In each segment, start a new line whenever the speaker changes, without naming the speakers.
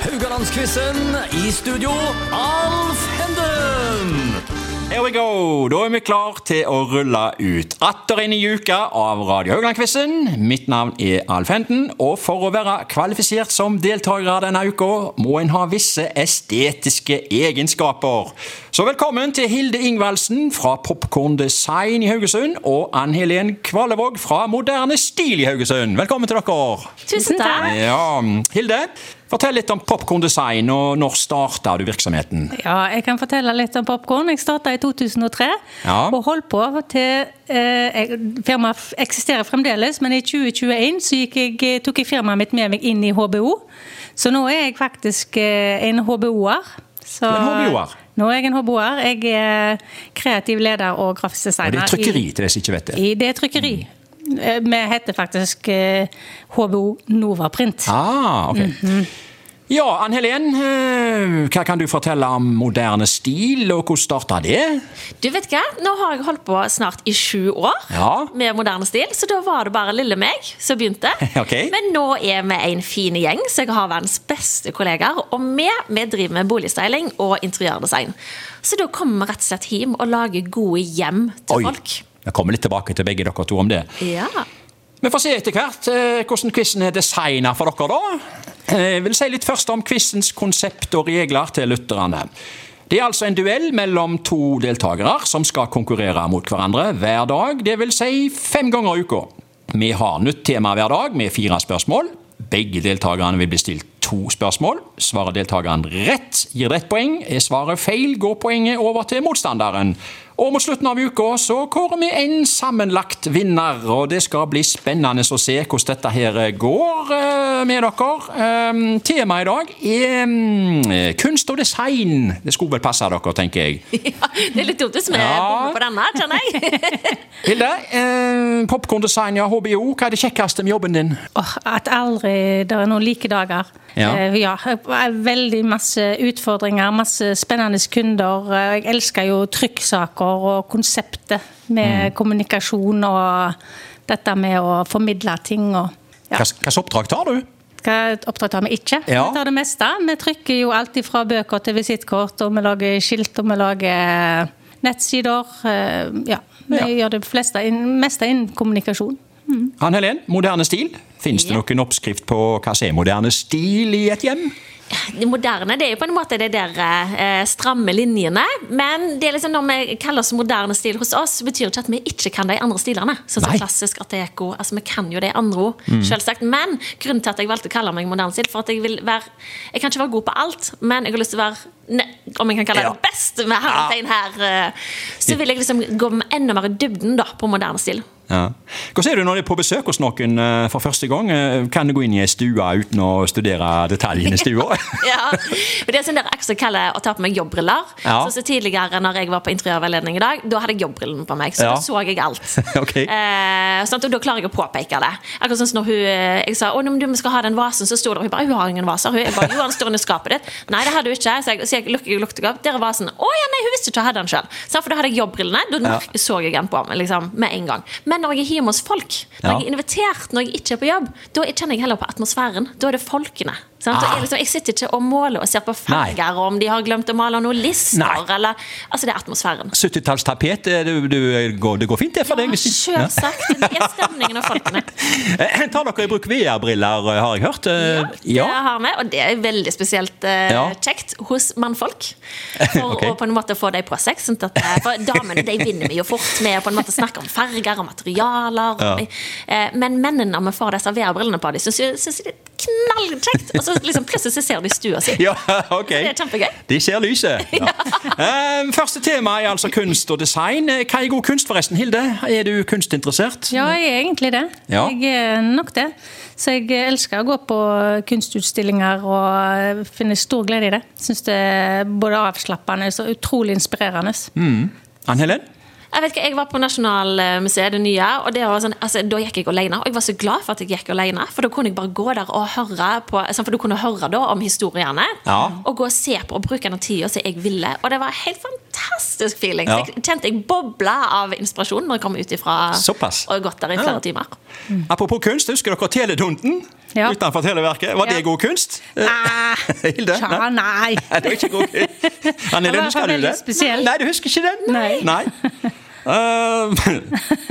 Haugalandsquizen i studio, Alf Henden!
Here we go! Da er vi klar til å rulle ut atter inn i uka av Radio Haugland-quizen. Mitt navn er Alf Henden, og for å være kvalifisert som deltaker denne uka, må en ha visse estetiske egenskaper. Så velkommen til Hilde Ingvaldsen fra Popcorn Design i Haugesund, og Ann Helen Kvalevåg fra Moderne Stil i Haugesund. Velkommen til dere!
Tusen takk.
Ja, Hilde, fortell litt om Popcorn Design, og når starta du virksomheten?
Ja, jeg kan fortelle litt om popkorn. Jeg starta i 2003
Ja.
og holdt på til eh, jeg- Firmaet f- eksisterer fremdeles, men i 2021 så gikk jeg, eh, tok jeg firmaet mitt med meg inn i HBO. Så nå er jeg faktisk eh, en HBO-er. Så-
Du er en HBO-er?
Nå er jeg en HBO-er. Jeg er kreativ leder og grafisk
Og
designer.
det er trykkeri Mm. til de som ikke vet det.
I, i det er trykkeri. Eh, Vi heter faktisk eh, HBO Novaprint.
Ah, ok.
Mhm.
Ja, Ann Helen, eh, hva kan du fortelle om moderne stil, og hvordan starta det?
Du vet hva? Nå har jeg holdt på snart i sju år
Ja.
med moderne stil, så da var det bare lille meg som begynte.
Ok.
Men nå er vi en fin gjeng, så jeg har verdens beste kollegaer. Og vi, vi driver med boligstyling og interiørdesign. Så da kommer vi rett og slett hjem og lager gode hjem til folk.
Jeg kommer litt tilbake til begge dere to om det.
Ja.
Vi får se etter hvert eh, hvordan quizen er designet for dere, da. Eh, Jeg vil si litt først om quizens konsept og regler til lytterne. Det er altså en duell mellom to deltakere som skal konkurrere mot hverandre hver dag, dvs. Si fem ganger i uka. Vi har nytt tema hver dag med fire spørsmål. Begge deltakerne vil bli stilt to spørsmål. Svarer deltakeren rett, gir det ett poeng. Er svaret feil, går poenget over til motstanderen. Og mot slutten av uka så kårer vi en sammenlagt vinner, og det skal bli spennende å se hvordan dette her går eh, med dere. Eh, Temaet i dag er mm, kunst og design. Det skulle vel passe dere, tenker jeg.
ja. Det er litt dumt hvis vi
Ja.
bommer på denne, kjenner jeg.
Hilde, eh, popcorndesigner, HBO, hva er det kjekkeste med jobben din?
Åh, at aldri det er noen like dager.
Ja.
Eh, ja. Veldig masse utfordringer, masse spennende kunder. Eh, Jeg elsker jo trykksaker og konseptet
Mm.
med kommunikasjon og dette med å formidle ting og ja.
Hva slags oppdrag tar du?
Hva oppdratt har vi ikke?
Ja.
Vi tar det meste. Vi trykker jo alltid fra bøker til visittkort, og vi lager skilt, og vi lager nettsider. Eh, Ja. Vi
Ja.
gjør det fleste, innen- meste innen kommunikasjon.
Ann Helen, moderne stil. Fins det noen oppskrift på hva som er moderne stil i et hjem?
Det moderne det er jo på en måte det der eh, stramme linjene. Men det er liksom når vi kaller oss moderne stil hos oss, betyr jo ikke at vi ikke kan de andre stilene. Sånn som
Nei. Mm.
klassisk art deco. Altså, vi kan jo de andre òg, selvsagt. Men grunnen til at jeg valgte å kalle meg moderne stil, for at jeg vil være Jeg kan ikke være god på alt, men jeg har lyst til å være ne om jeg kan kalle
Ja.
det best med hermetegn her, eh, så vil jeg liksom gå enda mer i dybden da, på moderne stil.
Ja. Hvordan er du når du er på besøk hos noen eh, for første gang? Eh, Kan du gå inn i ei stue uten å studere detaljene i stua?
ja. Men det er sånn der Aksel kaller å ta på meg jobbriller.
Ja.
Sånn som tidligere når jeg var på interiørveiledning i dag, da hadde jeg jobbrillene på meg. Så
Ja.
da så jeg alt.
Ok.
Eh, sånn at, og da klarer jeg å påpeke det. Akkurat sånn som når hun, eh, jeg sa å, nei, men du, vi skal ha den vasen, så sto det og hun bare hun har ingen vaser. Hun, jeg bare, jo, han står under skapet ditt. Nei, det har du ikke. Så jeg, så jeg lukket, lukket opp. Der er vasen. Å ja, nei, hun visste ikke hun hadde den sjøl. For da hadde jeg jobbrillene. Da merk- så jeg den på meg liksom, med en gang. Men når jeg er hjemme hos folk, når
Ja.
jeg er invitert, når jeg ikke er på jobb, da kjenner jeg heller på atmosfæren. Da er det folkene. Sant? Da
Ah.
er liksom, jeg sitter ikke og måler og ser på
Nei.
farger, og om de har glemt å male noen lister,
Nei.
eller Altså, det er atmosfæren.
70-tallstapet, eh, du- du går- det går fint det for deg? hvis du- Ja.
Selvsagt. Det er stemningen og folkene.
Eh, Tar dere i bruk VR-briller, eh, har jeg hørt? Eh,
Det
Ja.
har vi, og det er veldig spesielt eh,
Ja.
kjekt hos mannfolk. For
Ok.
å på en måte få dem på seg. Sånn at, eh, for damene de vinner vi jo fort med å på en måte snakke om farger og materialer. og- eh, Men mennene, når vi får disse VR-brillene på dem, syns de det er knallkjekt. Og så liksom plutselig så ser de stua si.
Ja, ok.
Det er kjempegøy.
De ser lyset. Ja. Eh, Første tema er altså kunst og design. Eh, Hva er god kunst, forresten? Hilde, er du kunstinteressert?
Ja, jeg er egentlig det.
Ja.
Jeg er nok det. Så jeg elsker å gå på kunstutstillinger og finner stor glede i det. Syns det er både avslappende og utrolig inspirerende.
Mm. Ann Helen?
Jeg vet ikke, jeg var på Nasjonalmuseet, det nye, og det var sånn, altså, da gikk jeg alene. Og jeg var så glad for at jeg gikk alene, for da kunne jeg bare gå der og høre på, sånn, for du kunne høre da om historiene.
Ja.
Og gå og se på og bruke den tida som jeg ville. Og det var helt fantastisk. fantastisk feeling.
Ja.
Så jeg kjente jeg bobla av inspirasjon når jeg kom ut ifra
Såpass.
og gått der i
Ja.
flere timer.
Apropos kunst, husker dere Teledunden
Ja.
utenfor Televerket? Var det
Ja.
god kunst?
Nei.
Hilde?
Ah, Tja, nei.
Nei, det var ikke god kunst. Anneli,
Den var
husker du
veldig
det?
spesiell.
Nei, du husker ikke den?
Nei.
Eh,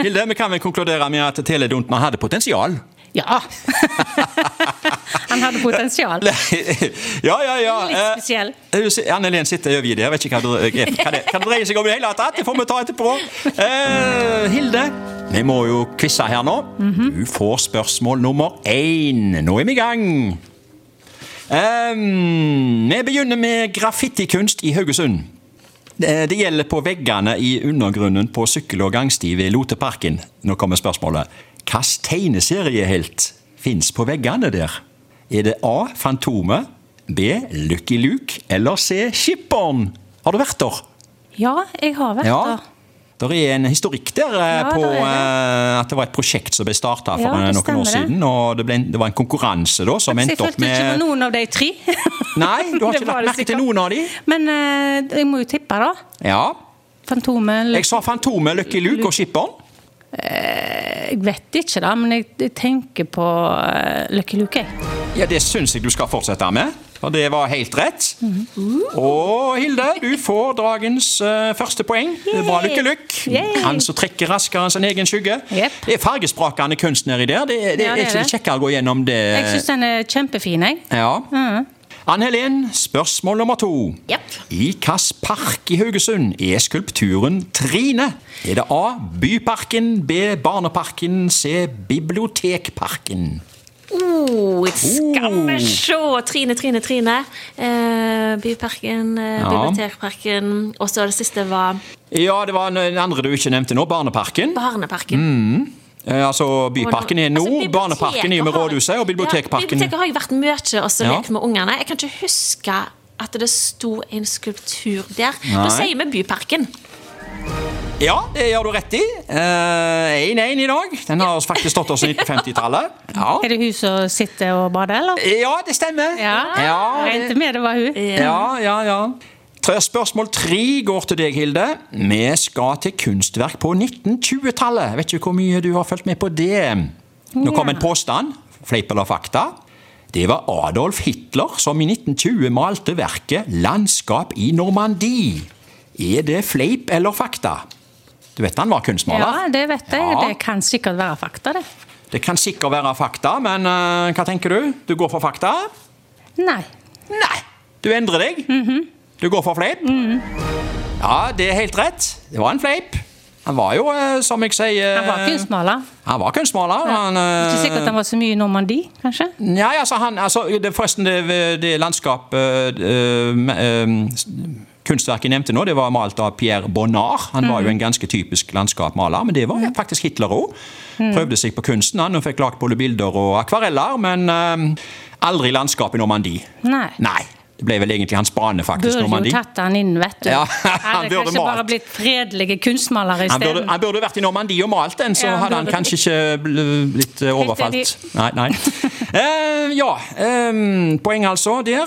Hilde, vi kan vel konkludere med at Teledunden hadde potensial?
Ja. Han hadde potensial.
ja, ja, ja.
Litt
Eh,
spesiell.
hun si- Anne Len sitter overgitt. Jeg vet ikke hva det, er- hva det, hva det dreier seg om i det hele tatt. Det får vi ta etterpå. Eh, Hilde, vi må jo quize her nå. Du får spørsmål nummer én. Nå er vi i gang. Ehm, vi begynner med graffitikunst i Haugesund. Eh, Det gjelder på veggene i undergrunnen på sykkel- og gangsti ved Loteparken. Nå kommer spørsmålet. Hvilken tegneseriehelt fins på veggene der? Er det A. Fantomet, B. Lucky Luke eller C. Skipperen? Har du vært der?
Ja, jeg har vært der.
Der er en historikk der eh,
Ja,
på
der er det.
eh, at det var et prosjekt som ble starta for eh,
Ja,
noen
det
år
stemmer det.
siden. og Det, ble en, det var en konkurranse da, som
Så jeg
endte opp
følte
med
ikke på noen av de tre.
Nei, du har
Det
ikke
var
lagt merke
det
til
sikkert.
noen av de?
Men eh, jeg må jo tippe, da.
Ja.
Fantomet eller
Jeg sa Fantomet, Lucky Luke og Skipperen.
Jeg vet ikke, da, men jeg, jeg tenker på eh, Lucky Luke. jeg.
Ja, det syns jeg du skal fortsette med. Og det var helt rett.
Mm-hmm.
Og Hilde, du får dagens eh, første poeng. Det er Bra lykke, lykke.
Yay.
Han som trekker raskere enn sin egen skygge.
Jep.
Det er fargesprakende kunst nedi der. Det, det,
Ja,
er
det
ikke
er
det kjekkere å gå gjennom det?
Jeg Mm. syns den er kjempefin, jeg.
Ja. Ann Helen, spørsmål nummer to.
Jepp.
I hvilken park i Haugesund er skulpturen Trine? Er det A. Byparken, B. Barneparken, C. Bibliotekparken?
Oh, skal vi se! Trine, Trine, Trine. Eh, byparken, eh,
Ja.
bibliotekparken. Og så det siste var
Ja, det var den andre du ikke nevnte nå, Barneparken.
Barneparken.
Eh, altså Byparken er nå,
Altså, biblioteket
Barneparken er med
har-
rådhuset, og
Ja,
Bibliotekparken
biblioteket har jeg vært mye og så
Ja.
lekt med ungene. Jeg kan ikke huske at det sto en skulptur der. Da
Nei.
sier vi Byparken.
Ja, det gjør du rett i. Eh, 1-1 i dag. Den har faktisk stått oss siden 1950-tallet. Ja.
Er det hun som sitter og bader, eller?
ja, det stemmer.
Jeg
ja det,
Regnet med det var hun.
Ja, ja, ja. Tre- Spørsmål tre går til deg, Hilde. Vi skal til kunstverk på 1920-tallet. Vet ikke hvor mye du har fulgt med på det. Nå kom en påstand. Fleip eller fakta? Det var Adolf Hitler som i 1920 malte verket 'Landskap i Normandie'. Er det fleip eller fakta? Du vet han var kunstmaler?
Ja, det vet jeg.
Ja.
Det kan sikkert være fakta, det.
Det kan sikkert være fakta, men eh, hva tenker du? Du går for fakta?
Nei.
Nei, du endrer deg.
Mhm.
Du går for fleip. Ja, det er helt rett. Det var en fleip. Han var jo, eh, som jeg sier eh,
Han var kunstmaler.
Han var kunstmaler. Han, eh,
Ikke sikkert han var så mye i Normandie, kanskje?
Nei, altså, han, altså det, Forresten, det, det landskap eh, eh, s- kunstverket jeg nevnte nå, det var malt av Pierre Bonnard. Han
Mhm.
var jo en ganske typisk landskapmaler, men det var faktisk Hitler òg.
Mhm.
Prøvde seg på kunsten han, og fikk lagd både bilder og akvareller, men eh, aldri landskap i Normandie.
Nei.
Nei. Det ble vel egentlig hans bane, faktisk.
Burde jo
Normandie.
tatt han inn, vet du.
Ja,
han
han
hadde
burde
kanskje
malt.
bare blitt fredelige kunstmalere
Han burde,
isteden.
han burde vært i Normandie og malt den, så
Ja, han
hadde han
burde-
kanskje ikke bl- blitt eh, overfalt.
enig.
Nei, nei. Eh, ja, eh, poeng altså der.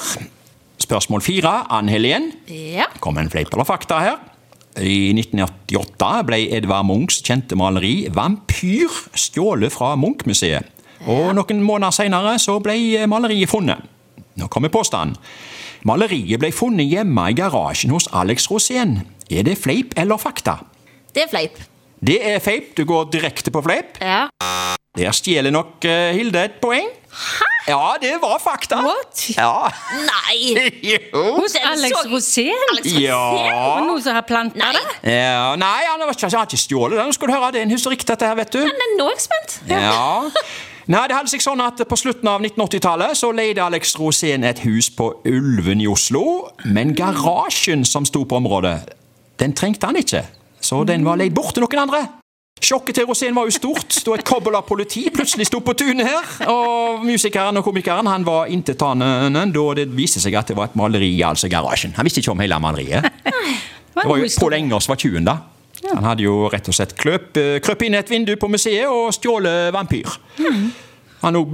Spørsmål fire. Ann Helen.
Ja.
Kom en fleip eller fakta her. I 1988 ble Edvard Munchs kjente maleri 'Vampyr' stjålet fra Munch-museet. Og noen måneder senere så ble eh, maleriet funnet. Nå kommer påstanden. Maleriet ble funnet hjemme i garasjen hos Alex Rosén. Er det fleip eller fakta?
Det er fleip.
Det er fleip. Du går direkte på fleip.
Ja.
Der stjeler nok eh, Hilde et poeng. Ja, det var fakta.
What?
Ja.
Nei!
jo.
Hos
Den
Alex
så-
Rosén?
Alex
Ja.
Og noen som har planta
Nei.
det?
Ja, nei, han har ikke, han har ikke stjålet den. Skal du høre, det er en historikk, dette her, vet du.
Men nå er jeg spent.
Ja. Nei, det hadde seg sånn at På slutten av 1980-tallet så leide Alex Rosén et hus på Ulven i Oslo. Men garasjen som sto på området, den trengte han ikke. Så den var leid bort til noen andre. Sjokket til Rosén var jo stort da et kobbel av politi plutselig sto på tunet her. Og musikeren og komikeren han var intetanende da det viste seg at det var et maleri i altså garasjen. Han visste ikke om hele maleriet.
Det
Det var jo Pål Engers var 20. da. Han
Hmm.
hadde jo rett og slett kløp, eh, krøp inn et vindu på museet og stjålet vampyr. Han er òg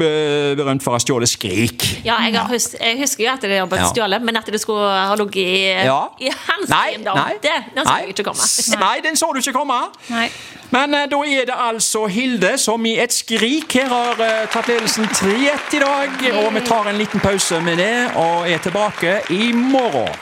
berømt for å ha stjålet Skrik.
Ja, jeg, har hus jeg husker jo at det var
Ja.
stjålet, men at det skulle ha ligget i,
Ja.
Eh, i hans
Nei,
eiendom,
nei,
det den skulle
nei.
jeg ikke
S-
komme.
Nei, den så du ikke komme.
Nei.
Men eh, da er det altså Hilde som i et skrik her har eh, tatt ledelsen 3-1 i dag. Og vi tar en liten pause med det og er tilbake i morgen.